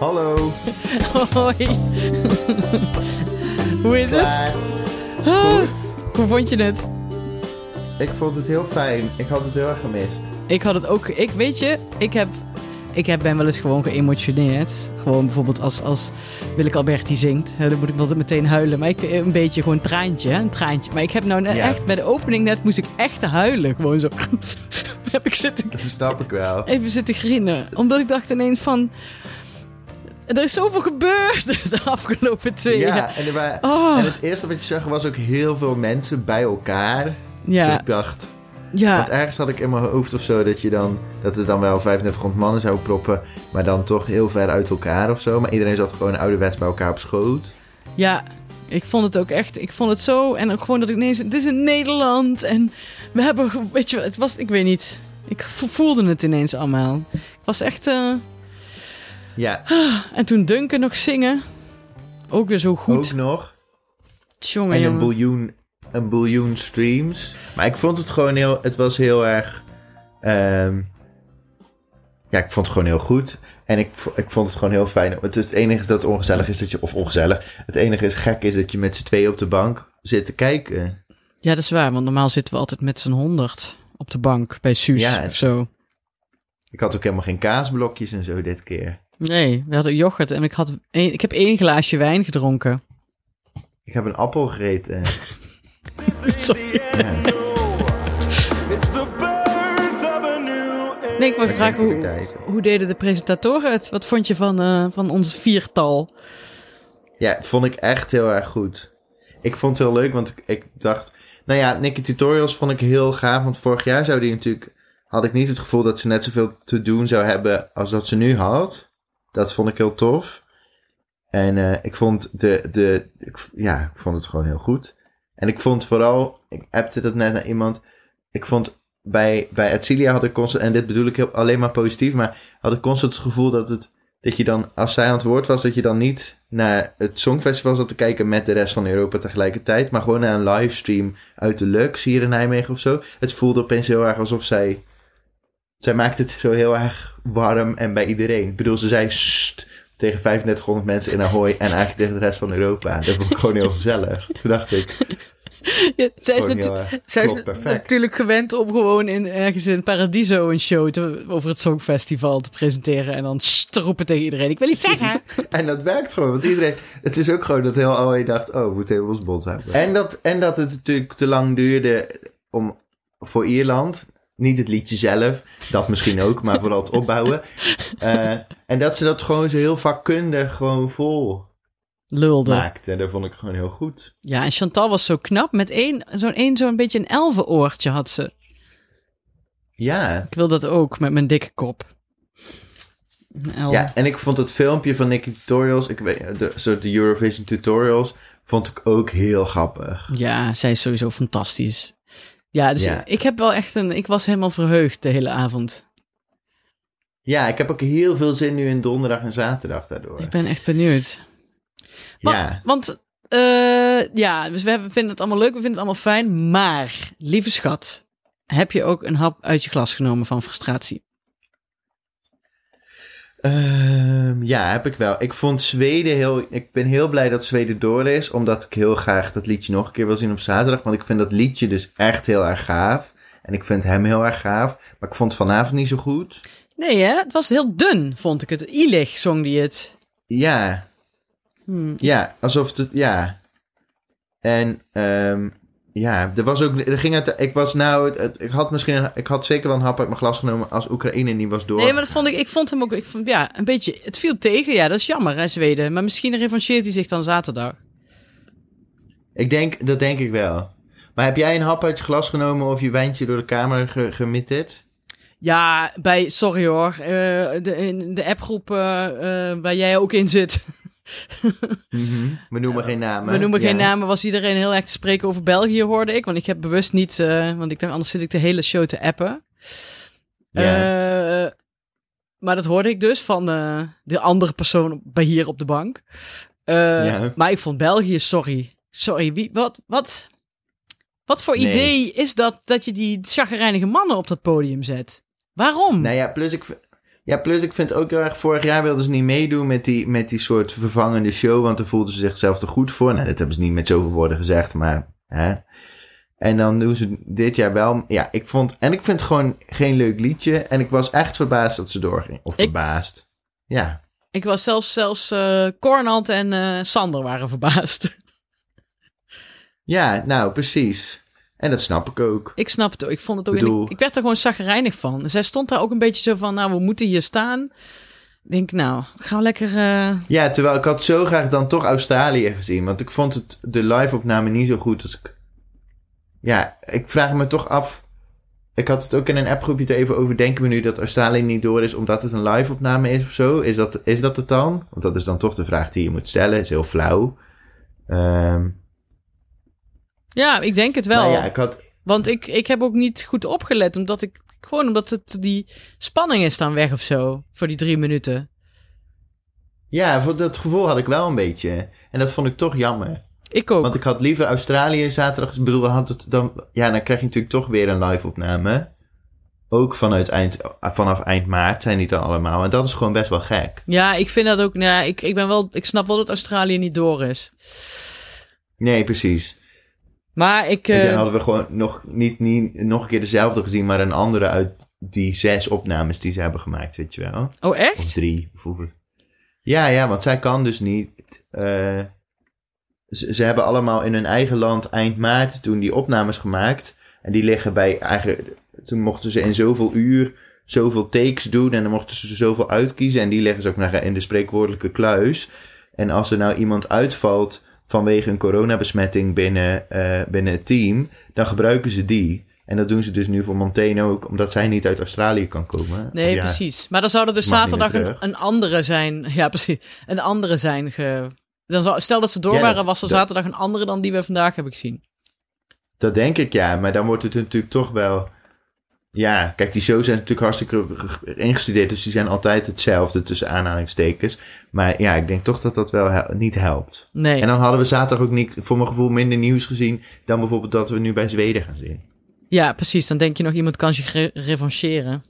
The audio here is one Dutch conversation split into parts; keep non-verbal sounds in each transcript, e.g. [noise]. Hallo. Hoi. [laughs] Hoe is het? Klaar. Ah, Goed. Hoe vond je het? Ik vond het heel fijn. Ik had het heel erg gemist. Ik had het ook. Ik weet je, ik heb. Ik heb, ben wel eens gewoon geëmotioneerd. Gewoon bijvoorbeeld als, als Willeke Alberti zingt. hè, Dan moet ik wel meteen huilen. Maar ik een beetje gewoon een traantje, hè, een traantje. Maar ik heb nou net Ja. echt bij de opening net moest ik echt huilen. Gewoon zo. [laughs] heb ik zitten, Dat snap ik [laughs] wel. even zitten grinnen. Omdat ik dacht ineens van... Er is zoveel gebeurd [laughs] de afgelopen twee jaar. Ja, en, er wa- Oh. en het eerste wat je zag was ook heel veel mensen bij elkaar. Ja, Ik dacht, ja. want ergens had ik in mijn hoofd of zo dat je dan, dat er dan wel 3500 mannen zou proppen, maar dan toch heel ver uit elkaar of zo. Maar iedereen zat gewoon ouderwets bij elkaar op schoot. Ja, ik vond het ook echt. Ik vond het zo. En ook gewoon dat ik ineens. Dit is in Nederland. En we hebben. ge- Weet je, wat, het was. Ik weet niet. Ik vo- voelde het ineens allemaal. Ik was echt. eh, Ja, En toen Duncan nog zingen. Ook weer zo goed. ook nog. Jongen, En een jongen. biljoen, een biljoen streams. Maar ik vond het gewoon heel... Het was heel erg... ehm, ja, ik vond het gewoon heel goed. En ik, vo- ik vond het gewoon heel fijn. Het, is het enige dat ongezellig is dat je... Of ongezellig. Het enige is gek is dat je met z'n tweeën op de bank zit te kijken. Ja, dat is waar. Want normaal zitten we altijd met z'n honderd op de bank bij Suus Ja, en- of zo. Ik had ook helemaal geen kaasblokjes en zo dit keer. Nee, we hadden yoghurt en ik, had één, ik heb één glaasje wijn gedronken. Ik heb een appel gegeten. Sorry. Ja, It's the birth of a new age. Nee, ik wou Dat vragen, is hoe, activiteit. hoe deden de presentatoren het? Wat vond je van, eh, van ons viertal? [laughs] ja, vond ik echt heel erg goed. Ik vond het heel leuk, want ik, ik dacht... Nou ja, Nicky Tutorials vond ik heel gaaf. Want vorig jaar zou die natuurlijk... Had ik niet het gevoel dat ze net zoveel te doen zou hebben als dat ze nu had. Dat vond ik heel tof. En eh, ik vond de... de ik, ja, ik vond het gewoon heel goed. En ik vond vooral... Ik appte dat net naar iemand. Ik vond... Bij, bij Atsilia had ik constant... En dit bedoel ik heel, alleen maar positief. Maar had ik constant het gevoel dat het... Dat je dan, als zij aan het woord was, dat je dan niet naar het Songfestival zat te kijken met de rest van Europa tegelijkertijd. Maar gewoon naar een livestream uit de Lux hier in Nijmegen of zo. Het voelde opeens heel erg alsof zij... Zij maakte het zo heel erg warm en bij iedereen. Ik bedoel, ze zei "Sst" tegen 3500 mensen in Ahoy en eigenlijk tegen de rest van Europa. Dat vond ik gewoon heel gezellig. Toen dacht ik, [laughs] Ja, zij is, gewoon natu- heel erg- zij is klopt perfect. natuurlijk gewend om gewoon in, ergens in Paradiso een show te- over het Songfestival te presenteren. En dan sst te roepen tegen iedereen. Ik wil iets [laughs] zeggen. En dat werkt gewoon, want iedereen... Het is ook gewoon dat heel Ahoy dacht, oh, we moeten even ons bond hebben. En dat, en dat het natuurlijk te lang duurde om, voor Ierland... Niet het liedje zelf, dat misschien ook, maar vooral het [laughs] opbouwen. Eh, en dat ze dat gewoon zo heel vakkundig gewoon vol Lulde. maakte. En dat vond ik gewoon heel goed. Ja, en Chantal was zo knap. Met één, zo'n één, zo'n beetje een elvenoortje had ze. Ja. Ik wil dat ook met mijn dikke kop. Een elf. ja, en ik vond het filmpje van Nicky Tutorials, ik weet, de, soort de Eurovision Tutorials, vond ik ook heel grappig. Ja, zij is sowieso fantastisch. Ja, dus Ja. ik heb wel echt een. Ik was helemaal verheugd de hele avond. Ja, ik heb ook heel veel zin nu in donderdag en zaterdag daardoor. Ik ben echt benieuwd. Wa- Ja. Want, eh, ja, dus we hebben- vinden het allemaal leuk, we vinden het allemaal fijn. Maar, lieve schat, heb je ook een hap uit je glas genomen van frustratie? Ehm, ja, heb ik wel. Ik vond Zweden heel. Ik ben heel blij dat Zweden door is, omdat ik heel graag dat liedje nog een keer wil zien op zaterdag. Want ik vind dat liedje dus echt heel erg gaaf. En ik vind hem heel erg gaaf. Maar ik vond het vanavond niet zo goed. Nee, hè? Het was heel dun, vond ik het. Ilig zong die het. Ja, Hm. Ja, alsof het. Ja. En ehm, ja, er was ook. Er ging het, ik was nou. het- het- ik had misschien. een- ik had zeker wel een hap uit mijn glas genomen als Oekraïne niet was door. Nee, maar dat vond ik, ik vond hem ook, ik vond, ja, een beetje, het viel tegen. Ja, dat is jammer, hè, Zweden. Maar misschien revancheert hij zich dan zaterdag. Ik denk, dat denk ik wel. Maar heb jij een hap uit je glas genomen of je wijntje door de kamer ge, gemitterd? Ja, bij, sorry hoor, eh, de, in de appgroep eh, eh, waar jij ook in zit. We noemen geen namen. Mhm. We noemen Ja. geen namen, was iedereen heel erg te spreken over België, hoorde ik. Want ik heb bewust niet, eh, want ik dacht, anders zit ik de hele show te appen. Ja. Eh, maar dat hoorde ik dus van eh, de andere persoon op- bij hier op de bank. Eh, Ja. Maar ik vond België, sorry. Sorry, wie, wat, wat, wat voor Nee. idee is dat dat je die chagrijnige mannen op dat podium zet? Waarom? Nou ja, plus ik. v- Ja, plus ik vind ook heel erg, vorig jaar wilden ze niet meedoen met die, met die soort vervangende show, want daar voelden ze zichzelf te goed voor. Nou, dat hebben ze niet met zoveel woorden gezegd, maar hè. En dan doen ze dit jaar wel. Ja, ik vond, en ik vind het gewoon geen leuk liedje. En ik was echt verbaasd dat ze doorging. Of Ik- verbaasd. Ja. Ik was zelfs, zelfs eh Cornald en eh, Sander waren verbaasd. [laughs] Ja, nou, precies. En dat snap ik ook. ik snap het ook. Ik vond het ook. en Bedoel- Ik, ik werd er gewoon zagrijnig van. Zij stond daar ook een beetje zo van, nou, we moeten hier staan. Ik denk, nou, gaan we lekker... eh, Ja, terwijl ik had zo graag dan toch Australië gezien. Want ik vond het, de live-opname niet zo goed als ik... Ja, ik vraag me toch af... Ik had het ook in een appgroepje te even over. Denken we nu dat Australië niet door is omdat het een live-opname is of zo? Is dat, is dat het dan? Want dat is dan toch de vraag die je moet stellen. Is heel flauw. Ehm, Ja, ik denk het wel. Nou ja, ik had... Want ik, ik heb ook niet goed opgelet, omdat ik... Gewoon omdat het die spanning is dan weg of zo, voor die drie minuten. Ja, voor dat gevoel had ik wel een beetje. En dat vond ik toch jammer. Ik ook. Want ik had liever Australië zaterdag. Ik bedoel, had het dan, ja, dan krijg je natuurlijk toch weer een live opname. Ook vanuit eind, vanaf eind maart zijn die dan allemaal. En dat is gewoon best wel gek. Ja, ik vind dat ook... Nou, ik, ik, ben wel, ik snap wel dat Australië niet door is. Nee, precies. Maar ik... Want eh, dan hadden we gewoon nog niet, niet nog een keer dezelfde gezien, maar een andere uit die zes opnames die ze hebben gemaakt, weet je wel. oh, Of echt? drie, bijvoorbeeld. Ja, ja, want zij kan dus niet. eh, ze, ze hebben allemaal in hun eigen land eind maart toen die opnames gemaakt. En die liggen bij eigen. Toen mochten ze in zoveel uur zoveel takes doen. En dan mochten ze er zoveel uitkiezen. En die leggen ze ook naar, in de spreekwoordelijke kluis. En als er nou iemand uitvalt vanwege een coronabesmetting binnen, eh, binnen het team, dan gebruiken ze die. En dat doen ze dus nu voor Montaigne ook, omdat zij niet uit Australië kan komen. Nee, Oh Ja. precies. Maar dan zou er dus Mag niet meer zaterdag een, terug. een andere zijn... Ja, precies. Een andere zijn ge... Dan zou, stel dat ze door Ja, dat- waren, was er dat- zaterdag een andere dan die we vandaag hebben gezien. Dat denk ik ja, maar dan wordt het natuurlijk toch wel. Ja, kijk, die shows zijn natuurlijk hartstikke ingestudeerd, dus die zijn altijd hetzelfde tussen aanhalingstekens. Maar ja, ik denk toch dat dat wel hel- niet helpt. Nee. En dan hadden we zaterdag ook niet, voor mijn gevoel, minder nieuws gezien dan bijvoorbeeld dat we nu bij Zweden gaan zien. Ja, precies. Dan denk je nog, iemand kan zich re- revancheren.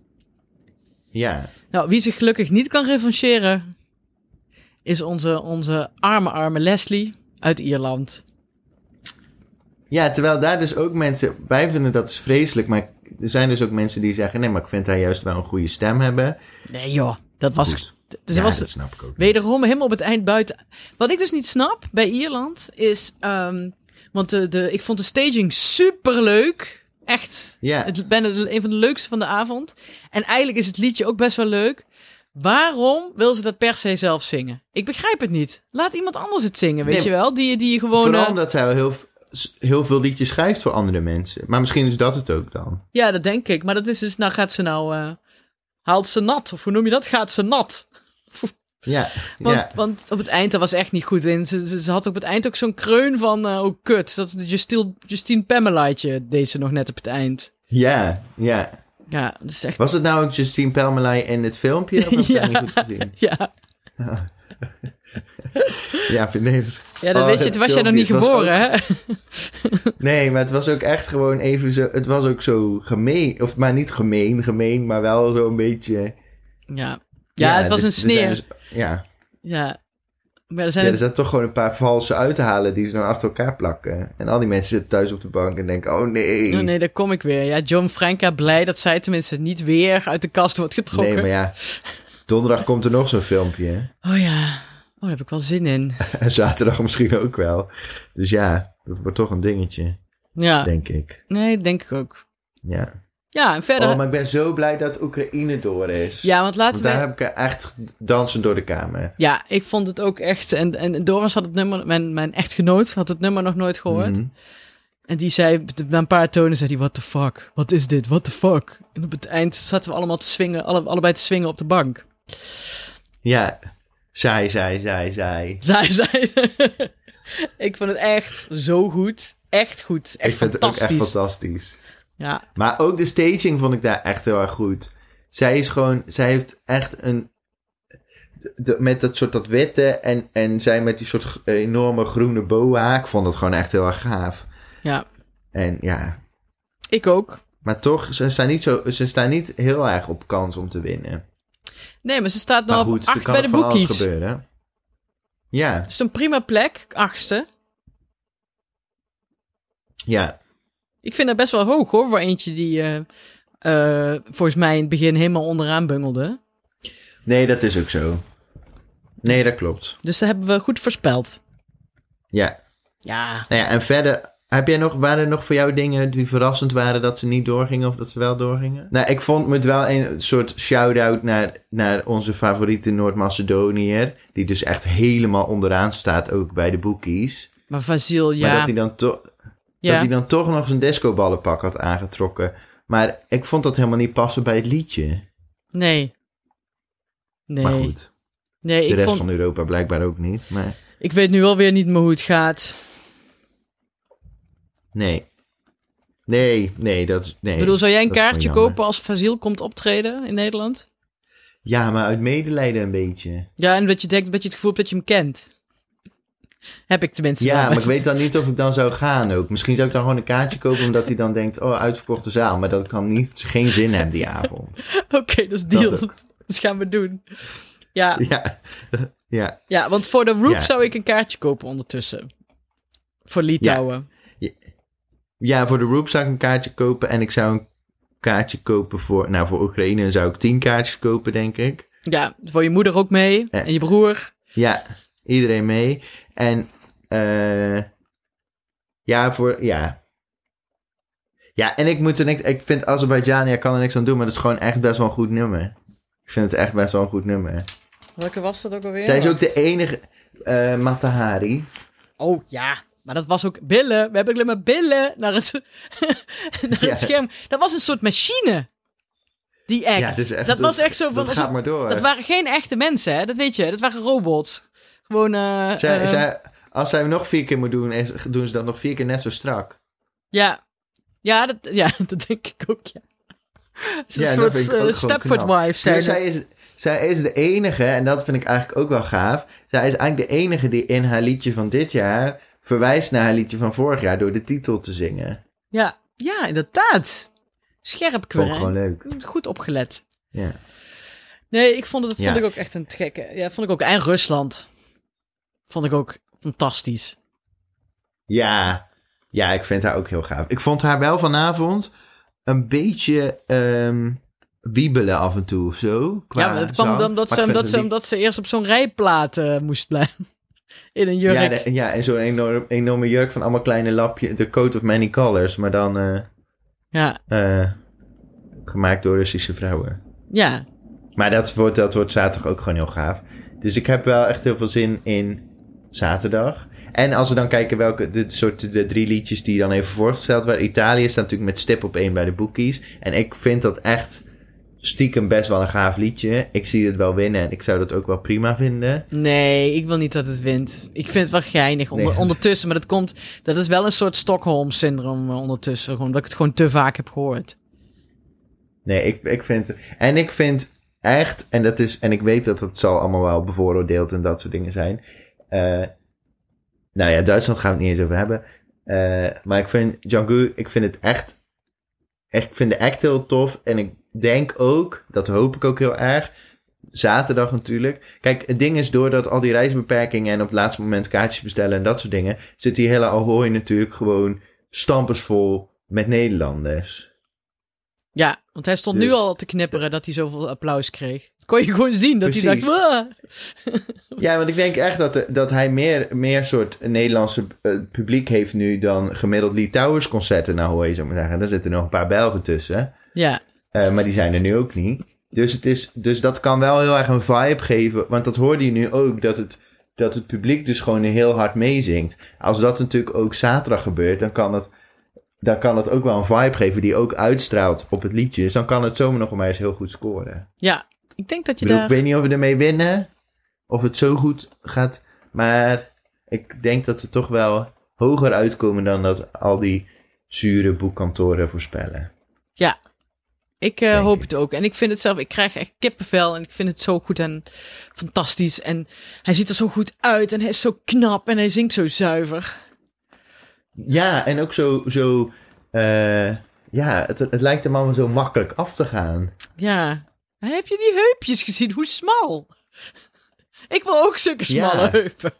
Ja, Nou, wie zich gelukkig niet kan revancheren, is onze, onze arme, arme Leslie uit Ierland. ja terwijl daar dus ook mensen, wij vinden dat is vreselijk, maar er zijn dus ook mensen die zeggen, nee, maar ik vind haar juist wel een goede stem hebben. Nee joh, dat was... Goed. Dus ja, was dat snap ik ook. niet. wederom helemaal op het eind buiten. Wat ik dus niet snap bij Ierland is... ehm, want de, de, ik vond de staging superleuk. Echt. Ja. Het ben het- een van de leukste van de avond. En eigenlijk is het liedje ook best wel leuk. Waarom wil ze dat per se zelf zingen? Ik begrijp het niet. Laat iemand anders het zingen, weet Nee, je wel? Die, die je gewoon... Vooral eh, omdat zij wel heel, heel veel liedjes schrijft voor andere mensen. Maar misschien is dat het ook dan. Ja, dat denk ik. Maar dat is dus, nou gaat ze nou, eh, haalt ze nat. Of hoe noem je dat? Gaat ze nat. Ja, Want, ja. want op het eind, dat was echt niet goed in. Ze, ze, ze had op het eind ook zo'n kreun van, eh, oh kut. Dat Justine, Justine Pamelaatje deed ze nog net op het eind. ja, ja. Ja, dat is echt... Was het nou ook Justine Pelmelay in het filmpje? [laughs] Of heb ik Ja. dat niet goed gezien? [laughs] Ja, Ja, nee, dat is- ja dat Oh, weet je, het toen was jij nog niet filmpje, het was geboren, hè? Nee, maar het was ook echt gewoon even zo... Het was ook zo gemeen. Of, maar niet gemeen, gemeen, maar wel zo'n beetje... [laughs] Ja. Ja, het was dus- een er zijn sneer. dus- ja. Ja. Maar er ja, zijn er dus- zijn toch gewoon een paar valse uit te halen... die ze dan achter elkaar plakken. En al die mensen zitten thuis op de bank en denken... Oh nee. Oh, nee, daar kom ik weer. Ja, John Franca blij dat zij tenminste niet weer uit de kast wordt getrokken. Nee, maar ja. Donderdag komt er nog zo'n filmpje. hè? Oh ja, oh, daar heb ik wel zin in. En zaterdag misschien ook wel. Dus ja, dat wordt toch een dingetje, Ja, denk ik. nee, denk ik ook. Ja. Ja, en verder. Oh, maar ik ben zo blij dat Oekraïne door is. Ja, want laten Want we. daar heb ik echt dansen door de kamer. Ja, ik vond het ook echt. En, en Doris had het nummer, mijn, mijn echtgenoot had het nummer nog nooit gehoord. Mhm. En die zei, na een paar tonen zei hij, what the fuck? Wat is dit? What the fuck? En op het eind zaten we allemaal te swingen, alle, allebei te swingen op de bank. [laughs] Ja, zij, zij, zij, zij. Zij zei, [laughs] ik vond het echt zo goed. Echt goed. Echt ik vind het ook fantastisch. echt fantastisch. Ja, Maar ook de staging vond ik daar echt heel erg goed. Zij is gewoon, zij heeft echt een. de- de- met dat soort dat witte en, en zij met die soort g- enorme groene boa. Ik vond het gewoon echt heel erg gaaf. ja, En ja, ik ook. maar toch, ze staan niet, zo, ze staan niet heel erg op kans om te winnen. Nee, maar ze staat Maar nog Nou goed, er op acht kan bij de nog van alles boekies. Het gebeuren. Ja, is een prima plek, achtste. ja. Ik vind dat best wel hoog hoor, voor eentje die eh, eh, volgens mij in het begin helemaal onderaan bungelde. Nee, dat is ook zo. Nee, dat klopt. Dus dat hebben we goed voorspeld. Ja. Ja, Nou ja, en verder, heb jij nog, waren er nog voor jou dingen die verrassend waren dat ze niet doorgingen of dat ze wel doorgingen? Nou, ik vond het wel een soort shout-out naar, naar onze favoriete Noord-Macedoniër, die dus echt helemaal onderaan staat ook bij de boekies. maar Vasil, Maar dat ja. hij dan toch... ja. Dat hij dan toch nog zijn discoballenpak had aangetrokken. Maar ik vond dat helemaal niet passen bij het liedje. Nee. Nee. Maar goed, nee, de ik, rest vond, van Europa blijkbaar ook niet. Maar ik weet nu alweer niet meer hoe het gaat. nee. Nee, nee, dat is... Nee. Ik bedoel, zou jij een dat is gewoon kaartje jammer. kopen als Vasil komt optreden in Nederland? Ja, maar uit medelijden een beetje. Ja, en dat je denkt dat je het gevoel hebt dat je hem kent. Heb ik tenminste. Ja, wel. maar ik weet dan niet of ik dan zou gaan ook. Misschien zou ik dan gewoon een kaartje kopen omdat hij dan denkt... Oh, uitverkochte zaal. Maar dat ik dan niet, geen zin heb die avond. [laughs] Oké, dat is deal. Dat Dat, gaan we doen. Ja, Ja, ja. ja, want voor de Roep Ja. zou ik een kaartje kopen ondertussen. Voor Litouwen. Ja, voor de Roop zou ik een kaartje kopen. En ik zou een kaartje kopen voor... Nou, voor Oekraïne zou ik tien kaartjes kopen, denk ik. Ja. voor je moeder ook mee. Ja. En je broer. Ja, iedereen mee. En eh ja, voor ja. Ja, en ik moet er niks. Ik vind Azerbeidzjan, ja, kan er niks aan doen, maar dat is gewoon echt best wel een goed nummer. Ik vind het echt best wel een goed nummer. Welke was dat ook alweer? Zij is ook de enige eh Matahari. Oh ja, maar dat was ook billen. We hebben alleen maar billen naar het, [laughs] naar Ja. het scherm. Dat was een soort machine. Die act. Ja, het is echt- dat was echt zo van. Dat alsof- gaat maar door. dat waren geen echte mensen, hè? dat weet je. Dat waren robots. Gewoon. eh, zij, eh, zij, als zij hem nog vier keer moet doen, is- doen ze dat nog vier keer net zo strak. Ja. Ja, dat, ja, [laughs] dat denk ik ook. Ja. Het is Ja, een dat soort vind ik ook eh, gewoon Stepford knap. Wife zijn. Dus zij, is, zij is de enige, en dat vind ik eigenlijk ook wel gaaf. Zij is eigenlijk de enige die in haar liedje van dit jaar verwijst naar haar liedje van vorig jaar door de titel te zingen. Ja. ja, inderdaad. Scherp Vond ik gewoon kwijt. leuk. Goed opgelet. Ja. Nee, ik vond het dat vond Ja. ik ook echt een te gekke. Ja, vond ik ook. En Rusland. Vond ik ook fantastisch. ja, ja, ik vind haar ook heel gaaf. Ik vond haar wel vanavond een beetje ehm, wiebelen af en toe of zo. qua ja, maar dat kwam zang. dan omdat Maar ze, ik vind omdat, het ze, lied- omdat ze eerst op zo'n rijplaat eh, moest blijven. [laughs] In een jurk. Ja, de- ja, en zo'n enorm, enorme jurk van allemaal kleine lapjes. De coat of many colors, maar dan eh, Ja, eh, gemaakt door Russische vrouwen. ja. Maar dat wordt, dat wordt zaterdag ook gewoon heel gaaf. Dus ik heb wel echt heel veel zin in zaterdag. En als we dan kijken welke de, soort, de drie liedjes die dan even voorgesteld waren. Italië staat natuurlijk met stip op één bij de bookies. En ik vind dat echt stiekem best wel een gaaf liedje. Ik zie het wel winnen en ik zou dat ook wel prima vinden. Nee, ik wil niet dat het wint. Ik vind het wel geinig onder- Nee. ondertussen. Maar dat komt... Dat is wel een soort Stockholm-syndroom eh, ondertussen. Gewoon, dat ik het gewoon te vaak heb gehoord. Nee, ik, ik vind... En ik vind echt, en dat is... En ik weet dat dat zal allemaal wel bevooroordeeld en dat soort dingen zijn. Eh, nou ja, Duitsland gaan we het niet eens over hebben. Eh, maar ik vind Django, ik vind het echt... echt ik vind de act heel tof. En ik denk ook, dat hoop ik ook heel erg... Zaterdag natuurlijk. Kijk, het ding is doordat al die reisbeperkingen en op het laatste moment kaartjes bestellen en dat soort dingen, zit die hele Ahoy natuurlijk gewoon stampersvol met Nederlanders. Ja, want hij stond nu Dus- al te knipperen dat hij zoveel applaus kreeg. Dat kon je gewoon zien. Dat hij Precies. dacht... "Wah." Ja, want ik denk echt dat, dat hij meer, meer soort Nederlandse eh, publiek heeft nu dan gemiddeld Litouwers concerten. Nou hoor je zo maar zeggen. Daar zitten nog een paar Belgen tussen. Ja, Eh, maar die zijn er nu ook niet. Dus, het is, dus dat kan wel heel erg een vibe geven. Want dat hoorde je nu ook. Dat het, dat het publiek dus gewoon heel hard meezingt. Als dat natuurlijk ook zaterdag gebeurt. Dan kan, het, dan kan het ook wel een vibe geven die ook uitstraalt op het liedje. Dus dan kan het zomaar nog maar eens heel goed scoren. ja. Ik denk dat je Ik bedoel, daar... ik weet niet of we ermee winnen. Of het zo goed gaat. Maar ik denk dat ze toch wel hoger uitkomen dan dat al die zure boekkantoren voorspellen. Ja, ik eh, Denk hoop ik. het ook. En ik vind het zelf, ik krijg echt kippenvel en ik vind het zo goed en fantastisch. En hij ziet er zo goed uit en hij is zo knap en hij zingt zo zuiver. Ja, en ook zo. zo eh, ja, het, het lijkt hem allemaal zo makkelijk af te gaan. Ja, En heb je die heupjes gezien? Hoe smal? [laughs] Ik wil ook zulke Ja. smalle heupen.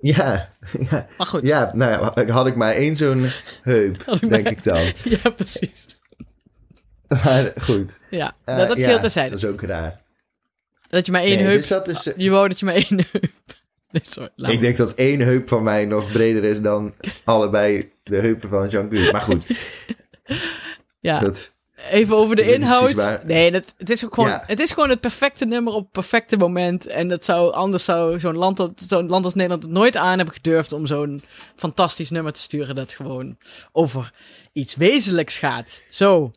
Ja, ja, Maar goed, ja, nou ja, had ik maar één zo'n heup, Had ik denk maar- ik dan. [laughs] [laughs] ja precies. Maar goed. Ja, Eh, nou, dat ja, scheelt terzijde. Dat is ook raar. Dat je maar één Nee, heup... Nou. dus dat is, Je wou dat je maar één [laughs] heup... Nee, sorry. laat ik maar. denk dat één heup van mij nog breder is dan allebei de heupen van Jean-Claude. Maar goed, ja, dat, even over ik de weet niet inhoud. precies waar- Nee, dat, het, is ook gewoon, Ja. het is gewoon het perfecte nummer op het perfecte moment. En dat zou, anders zou zo'n land, dat- zo'n land als Nederland het nooit aan hebben gedurfd... om zo'n fantastisch nummer te sturen dat gewoon over iets wezenlijks gaat. Zo,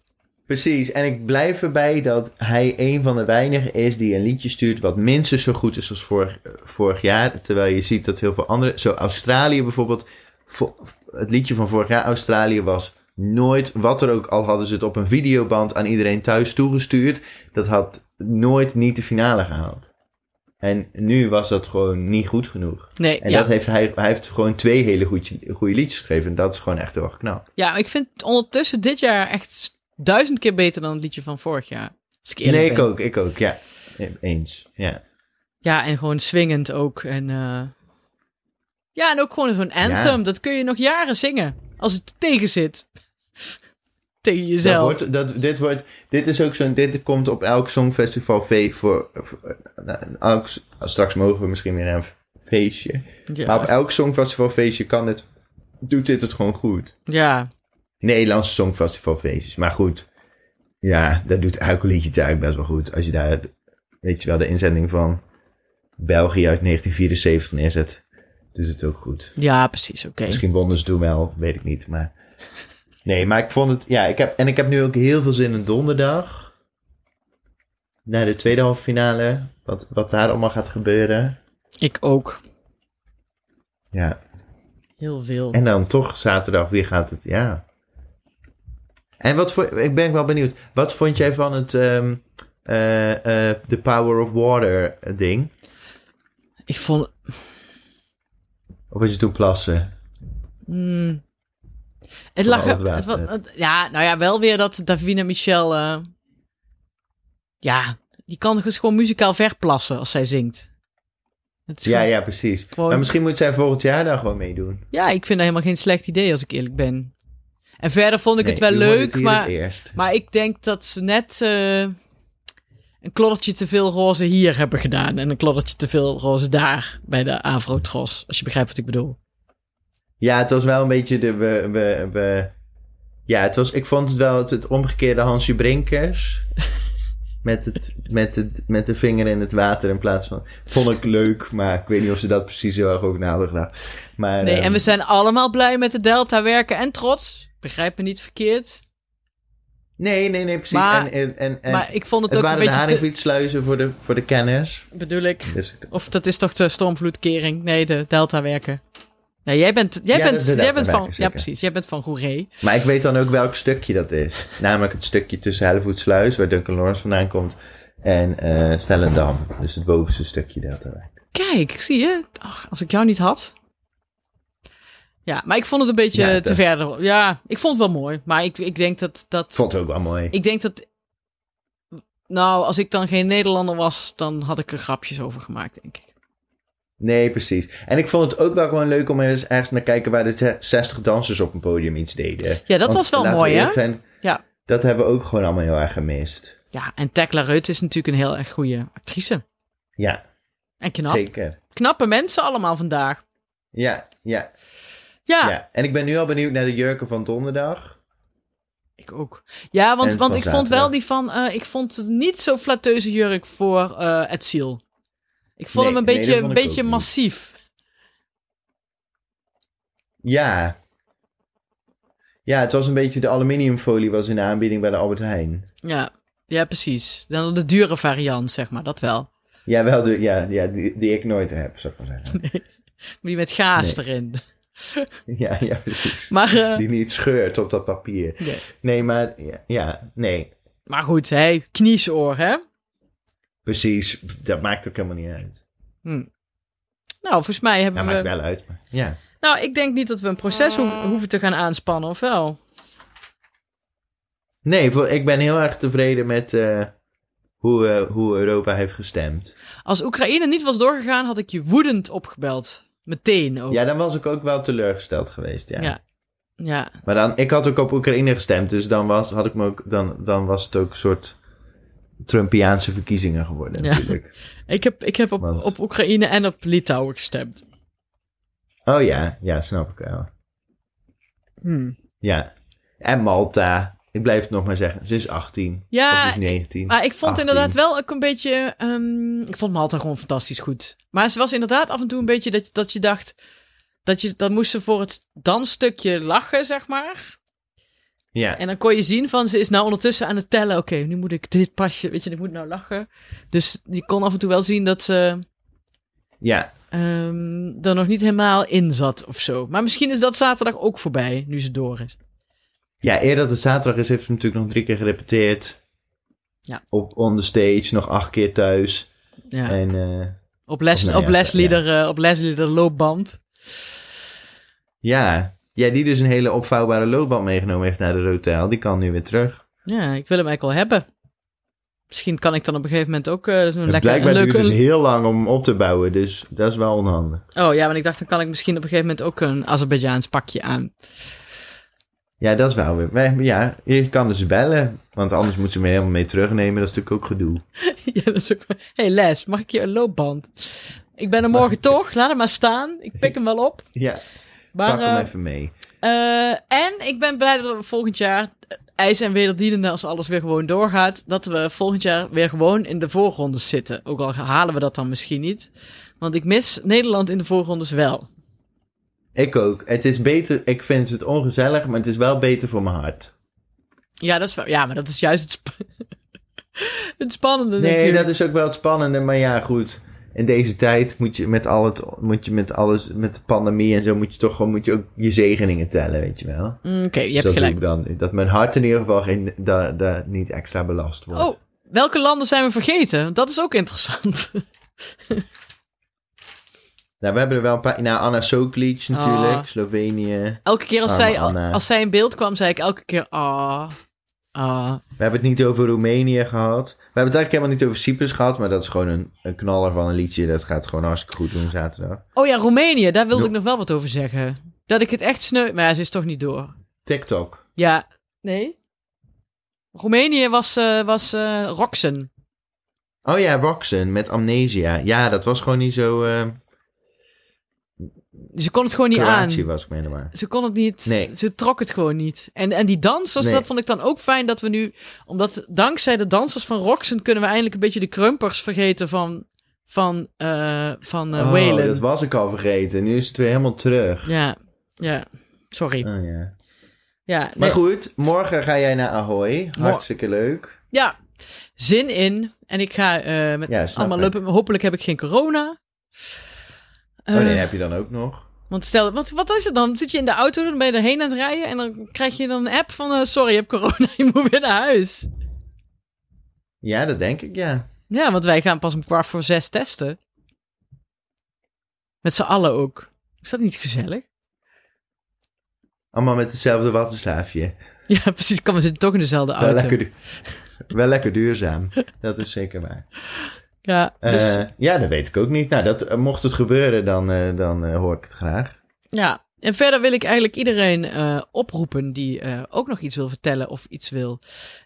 precies. En ik blijf erbij dat hij een van de weinigen is die een liedje stuurt wat minstens zo goed is als vorig, eh, vorig jaar. Terwijl je ziet dat heel veel andere, zo Australië bijvoorbeeld, vo- het liedje van vorig jaar Australië was nooit, wat er ook al hadden ze het op een videoband aan iedereen thuis toegestuurd, dat had nooit niet de finale gehaald. En nu was dat gewoon niet goed genoeg. nee, En ja. dat heeft hij, hij heeft gewoon twee hele goede, goede liedjes geschreven. En dat is gewoon echt heel erg knap. Ja, maar ik vind het ondertussen dit jaar echt s- duizend keer beter dan het liedje van vorig jaar. Als ik eerlijk nee, ben. ik ook, ik ook, ja. Eens, ja. Ja, en gewoon swingend ook. En, eh, Ja, en ook gewoon zo'n anthem. Dat kun je nog jaren zingen. Als het tegen zit. [laughs] tegen Dat jezelf. wordt, dat, dit, wordt, dit is ook zo'n, dit komt op elk songfestival fe- voor, voor- nou, elk, straks mogen we misschien weer naar een feestje. Ja. Maar op elk songfestivalfeestje kan het, doet dit het gewoon goed. ja. Nederlandse songfestivalfeestjes, maar goed. Ja, dat doet elk liedje het eigenlijk best wel goed. Als je daar, weet je wel, de inzending van België uit 1974 neerzet, doet het ook goed. ja, precies. Oké. Misschien wonnen ze toen wel, weet ik niet. Maar nee, maar ik vond het, ja, ik heb, en ik heb nu ook heel veel zin in donderdag. Naar de tweede halve finale, wat, wat daar allemaal gaat gebeuren. Ik ook. Ja, Heel veel. en dan toch zaterdag, wie gaat het, ja. En wat voor, ik ben wel benieuwd, wat vond jij van het, ehm, eh, eh, The Power of Water ding? Ik vond... Of was je toen plassen? mm, Van het lag... al het Het, water. wa- het- ja, nou ja, wel weer dat Davina Michel... eh, ja, die kan dus gewoon muzikaal verplassen als zij zingt. Het is Ja, gewoon- ja, precies. Gewoon- Maar misschien moet zij volgend jaar daar gewoon meedoen. Ja, ik vind dat helemaal geen slecht idee, als ik eerlijk ben. En verder vond ik het wel leuk, maar, maar ik denk dat ze net eh, een kloddertje te veel roze hier hebben gedaan. En een kloddertje te veel roze daar, bij de Avrotros, als je begrijpt wat ik bedoel. Ja, het was wel een beetje de. We, we, we, ja, het was, ik vond het wel het, het omgekeerde Hansje [laughs] Brinkers. met, het, met, het, met de vinger in het water in plaats van. Vond ik leuk, maar ik weet niet of ze dat precies heel erg over na hadden gedaan. Maar, Nee, ehm, en we zijn allemaal blij met de Delta werken en trots. Begrijp me niet verkeerd. nee, nee, nee, precies. Maar- en, en, en, en Maar ik vond het, het ook een waren de beetje te- haringvlietsluizen voor de, voor de kenners. Bedoel ik, Dus, of dat is toch de stormvloedkering? Nee, de Delta werken. Nee, jij bent, jij Ja, dat bent, is de jij bent deltawerken, van, ja zeker. precies, jij bent van Goeree. maar ik weet dan ook welk stukje dat is. Namelijk het stukje tussen Hellevoetsluis, waar Duncan Lawrence vandaan komt, en eh, Stellendam. Dus het bovenste stukje dat er. Kijk, zie je? Ach, als ik jou niet had. Ja, maar ik vond het een beetje Ja, te de- verder. Ja, ik vond het wel mooi. Maar ik, ik denk dat dat. Ik vond het ook wel mooi. Ik denk dat. Nou, als ik dan geen Nederlander was, dan had ik er grapjes over gemaakt, denk ik. Nee, precies. En ik vond het ook wel gewoon leuk om er eens ergens naar te kijken waar de ze- 60 dansers op een podium iets deden. Ja, dat was wel laten we mooi, hè? eerlijk Zijn, Ja. Dat hebben we ook gewoon allemaal heel erg gemist. Ja, en Tekla Reut is natuurlijk een heel erg goede actrice. Ja, En knap. zeker. Knappe mensen allemaal vandaag. Ja, ja, Ja, ja, En ik ben nu al benieuwd naar de jurken van donderdag. ik ook. Ja, want, En want van ik vond wel zaterdag. die van. eh, ik vond het niet zo flatteuze jurk voor eh Het Ziel. Ik vond Nee, hem een nee, beetje, dat een vond ik beetje ook niet. massief. Ja. Ja, het was een beetje de aluminiumfolie was in de aanbieding bij de Albert Heijn. Ja, ja precies. Dan de dure variant, zeg maar, dat wel. Ja, wel de, ja, ja die, die ik nooit heb, zou ik maar [laughs] zeggen. Die met gaas Nee. erin. [laughs] Ja, ja, precies. Maar, eh, Die niet scheurt op dat papier. nee. Nee, maar ja, ja nee. maar goed, hè, kniesoor, hè? Precies, dat maakt ook helemaal niet uit. Hm. Nou, volgens mij Ja, hebben we... maakt wel uit. Maar, ja. Nou, ik denk niet dat we een proces hoef- hoeven te gaan aanspannen, of wel? Nee, voor, ik ben heel erg tevreden met, eh, hoe, eh, hoe Europa heeft gestemd. Als Oekraïne niet was doorgegaan, had ik je woedend opgebeld. Meteen ook. Ja, dan was ik ook wel teleurgesteld geweest, ja. Ja. Ja. Maar dan, ik had ook op Oekraïne gestemd, dus dan was, had ik me ook, dan, dan was het ook een soort Trumpiaanse verkiezingen geworden Ja. natuurlijk. Ik heb, ik heb op, Want- op Oekraïne en op Litouwen gestemd. Oh ja, ja, snap ik wel. Hmm. Ja. En Malta. Ik blijf het nog maar zeggen. Ze is 18. Ja, of is 19. Maar ik vond 18. inderdaad wel ook een beetje. ehm, ik vond Malta gewoon fantastisch goed. Maar ze was inderdaad af en toe een beetje dat, dat je dacht. Dat, je, dat moest ze voor het dansstukje lachen, zeg maar. Ja. En dan kon je zien van ze is nou ondertussen aan het tellen. Oké, nu moet ik dit pasje. Weet je, ik moet nou lachen. Dus je kon af en toe wel zien dat ze ja. ehm er nog niet helemaal in zat of zo. Maar misschien is dat zaterdag ook voorbij, nu ze door is. Ja, eer dat het zaterdag is, heeft ze natuurlijk nog drie keer gerepeteerd. Ja. Op on the stage, nog acht keer thuis. Ja. En eh, Op, les, Of nou op, ja, Leslie ja. er, eh, op Leslie er loopband. ja. ja, die dus een hele opvouwbare loopband meegenomen heeft naar de hotel. Die kan nu weer terug. Ja, ik wil hem eigenlijk al hebben. Misschien kan ik dan op een gegeven moment ook eh, En zo'n lekker een Blijkbaar duurt leuke... het dus heel lang om op te bouwen, dus dat is wel onhandig. Oh ja, maar ik dacht dan kan ik misschien op een gegeven moment ook een Azerbeidzjaans pakje aan. [laughs] Ja, dat is wel weer. maar ja, je kan dus bellen, want anders moeten ze me helemaal mee terugnemen. Dat is natuurlijk ook gedoe. ja, dat is ook... wel- hey Les, mag ik je een loopband? Ik ben er morgen toch, laat hem maar staan. Ik pik hem wel op. Ja, Maar, pak hem eh, even mee. eh, en ik ben blij dat we volgend jaar, eh, ijs en wederdienende als alles weer gewoon doorgaat, dat we volgend jaar weer gewoon in de voorrondes zitten. Ook al halen we dat dan misschien niet. Want ik mis Nederland in de voorrondes wel. Ik ook. Het is beter, ik vind het ongezellig, maar het is wel beter voor mijn hart. Ja, dat is wel, ja maar dat is juist het, sp- [laughs] het spannende Nee, natuurlijk. dat is ook wel het spannende, maar ja, goed. In deze tijd moet je met al het, moet je met alles, met de pandemie en zo, moet je toch gewoon, moet je ook je zegeningen tellen, weet je wel. Mm, Oké, je Dus hebt dat doe gelijk. ik dan. Dat mijn hart in ieder geval geen, da, da- niet extra belast wordt. Oh, welke landen zijn we vergeten? Want Dat is ook interessant. [laughs] Nou, we hebben er wel een paar, nou, Anna Soklic natuurlijk, Ah. Slovenië. Elke keer als, Arme zij, Anne. als zij in beeld kwam, zei ik elke keer... Ah, ah. We hebben het niet over Roemenië gehad. We hebben het eigenlijk helemaal niet over Cyprus gehad, maar dat is gewoon een, een knaller van een liedje. Dat gaat gewoon hartstikke goed doen zaterdag. Oh ja, Roemenië, daar wilde Ja. ik nog wel wat over zeggen. Dat ik het echt sneu... Maar ja, ze is toch niet door. TikTok. Ja. Nee? Roemenië was, eh was eh, Roxen. Oh ja, Roxen met Amnesia. Ja, dat was gewoon niet zo... eh Ze kon het gewoon niet Kroatië aan. was ik me maar. Ze kon het niet. Nee. Ze trok het gewoon niet. En, en die dansers, Nee. dat vond ik dan ook fijn dat we nu... Omdat dankzij de dansers van Roxen kunnen we eindelijk een beetje de krumpers vergeten van... Van, eh van eh, Oh, Waylon. dat was ik al vergeten. Nu is het weer helemaal terug. Ja, ja. Sorry. Oh, ja. Ja, nee. Maar goed, morgen ga jij naar Ahoy. Mor- Hartstikke leuk. ja, zin in. En ik ga eh, met Ja, snap allemaal ik. lopen. Hopelijk heb ik geen corona. Oh nee, Eh, heb je dan ook nog. Want stel, wat, wat is het dan? Zit je in de auto, dan ben je erheen aan het rijden en dan krijg je dan een app van eh, sorry, je hebt corona, [laughs] je moet weer naar huis. Ja, dat denk ik, ja. Ja, want wij gaan pas om kwart voor zes testen. Met z'n allen ook. Is dat niet gezellig? [laughs] Allemaal met hetzelfde wattenstaafje. Ja, precies. Kan, we zitten toch in dezelfde Wel auto. lekker, du- wel lekker duurzaam. Dat is zeker waar. Ja, [laughs] dus Eh, ja, dat weet ik ook niet. Nou, dat, eh, mocht het gebeuren, dan, eh, dan eh, hoor ik het graag. Ja, en verder wil ik eigenlijk iedereen eh, oproepen die eh, ook nog iets wil vertellen of iets wil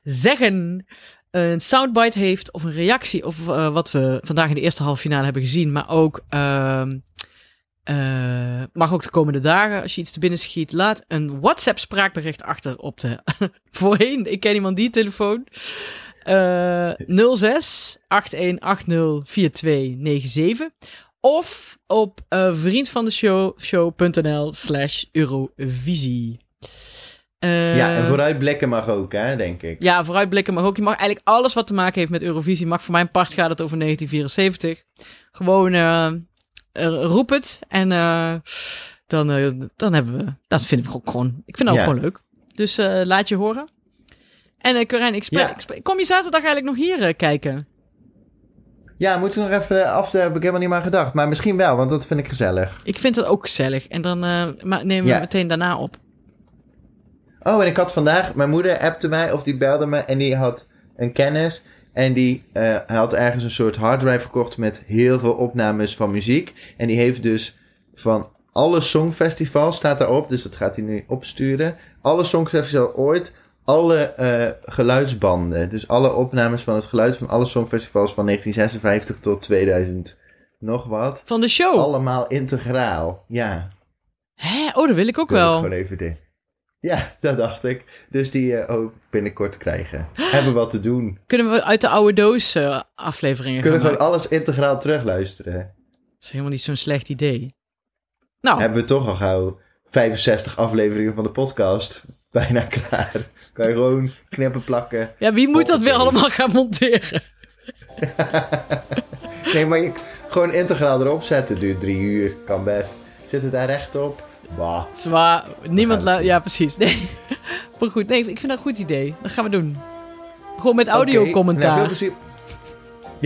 zeggen. Een soundbite heeft of een reactie op eh, wat we vandaag in de eerste halve finale hebben gezien. Maar ook, ehm, eh, mag ook de komende dagen, als je iets te binnen schiet, laat een WhatsApp spraakbericht achter op de... [laughs] voorheen, ik ken iemand die telefoon. Eh 06 8180 4297 of op eh vriendvandeshow.nl slash Eurovisie. Eh, ja, en vooruitblikken mag ook, hè, denk ik. ja, vooruitblikken mag ook. Je mag eigenlijk alles wat te maken heeft met Eurovisie. Mag voor mijn part gaat het over 1974. Gewoon eh, eh, roep het en eh, dan, eh, dan hebben we... Dat vind ik ook gewoon... Ik vind dat ook Ja. gewoon leuk. Dus eh, laat je horen. En eh Corijn, ik spreek, Ja. ik spreek- kom je zaterdag eigenlijk nog hier eh, kijken? Ja, moeten we nog even af, daar heb ik helemaal niet meer aan gedacht. Maar misschien wel, want dat vind ik gezellig. Ik vind dat ook gezellig. En dan eh, ma- nemen we Ja. meteen daarna op. Oh, en ik had vandaag, mijn moeder appte mij of die belde me en die had een kennis. En die eh, hij had ergens een soort harddrive verkocht met heel veel opnames van muziek. En die heeft dus van alle songfestivals staat daarop. Dus dat gaat hij nu opsturen. Alle songfestivals ooit. Alle eh, geluidsbanden. Dus alle opnames van het geluid van alle songfestivals van 1956 tot 2000. Nog wat. Van de show. Allemaal integraal. Ja. Hè? Oh, dat wil ik ook Wil ik wel. Gewoon even dit. Ja, dat dacht ik. Dus die eh, ook binnenkort [gasps] krijgen. Hebben wat te doen. Kunnen we uit de oude doos eh, afleveringen Kunnen gaan gewoon maken? alles integraal terugluisteren. Dat is helemaal niet zo'n slecht idee. Nou, Hebben we toch al gauw 65 afleveringen van de podcast [laughs] bijna klaar. Kan je gewoon knippen, plakken. ja, wie moet dat weer Oké. allemaal gaan monteren? Nee, maar je, gewoon integraal erop zetten. Duurt drie uur, kan best. Zit het daar recht op? Bah. Zwaar, niemand gaan het la- zien. Ja, precies. Nee. [laughs] Maar goed, nee, ik vind dat een goed idee. Dat gaan we doen. Gewoon met audio-commentaar. Oké, nou, veel plezier.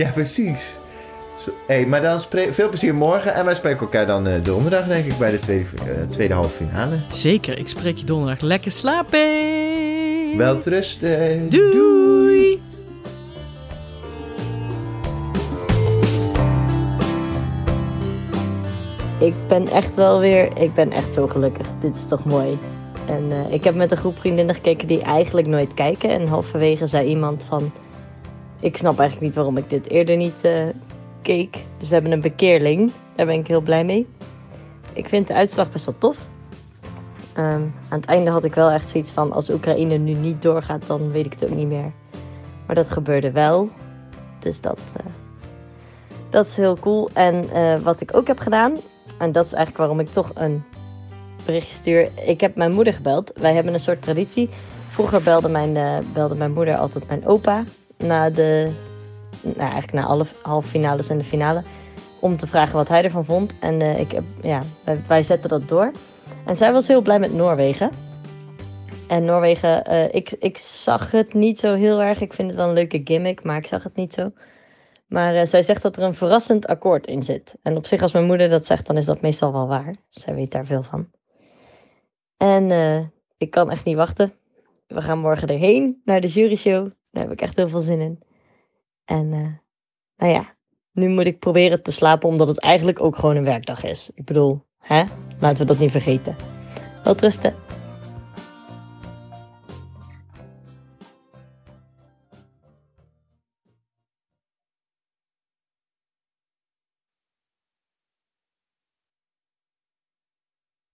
Ja, precies. Zo- hey, maar dan spre- veel plezier morgen. En wij spreken elkaar dan eh, donderdag, denk ik, bij de tweede, eh, tweede halve finale. Zeker, ik spreek je donderdag. Lekker slapen! Wel eh, trusten. Doei. Ik ben echt wel weer, ik ben echt zo gelukkig. Dit is toch mooi. En eh, ik heb met een groep vriendinnen gekeken die eigenlijk nooit kijken. En halverwege zei iemand van, ik snap eigenlijk niet waarom ik dit eerder niet eh, keek. Dus we hebben een bekeerling. Daar ben ik heel blij mee. Ik vind de uitslag best wel tof. Ehm, aan het einde had ik wel echt zoiets van, als Oekraïne nu niet doorgaat, dan weet ik het ook niet meer. Maar dat gebeurde wel. Dus dat, eh, dat is heel cool. En eh, wat ik ook heb gedaan, en dat is eigenlijk waarom ik toch een bericht stuur. Ik heb mijn moeder gebeld. Wij hebben een soort traditie. Vroeger belde mijn, eh, belde mijn moeder altijd mijn opa. Na de. Nou, eigenlijk na alle halve finales en de finale. Om te vragen wat hij ervan vond. En eh, ik heb, ja, wij, wij zetten dat door. En zij was heel blij met Noorwegen. En Noorwegen, eh, ik, ik zag het niet zo heel erg. Ik vind het wel een leuke gimmick, maar ik zag het niet zo. Maar eh, zij zegt dat er een verrassend akkoord in zit. En op zich, als mijn moeder dat zegt, dan is dat meestal wel waar. Zij weet daar veel van. En eh, ik kan echt niet wachten. We gaan morgen erheen naar de juryshow. Daar heb ik echt heel veel zin in. En eh, nou ja, nu moet ik proberen te slapen, omdat het eigenlijk ook gewoon een werkdag is. Ik bedoel, hè? Laten we dat niet vergeten. Wel rusten.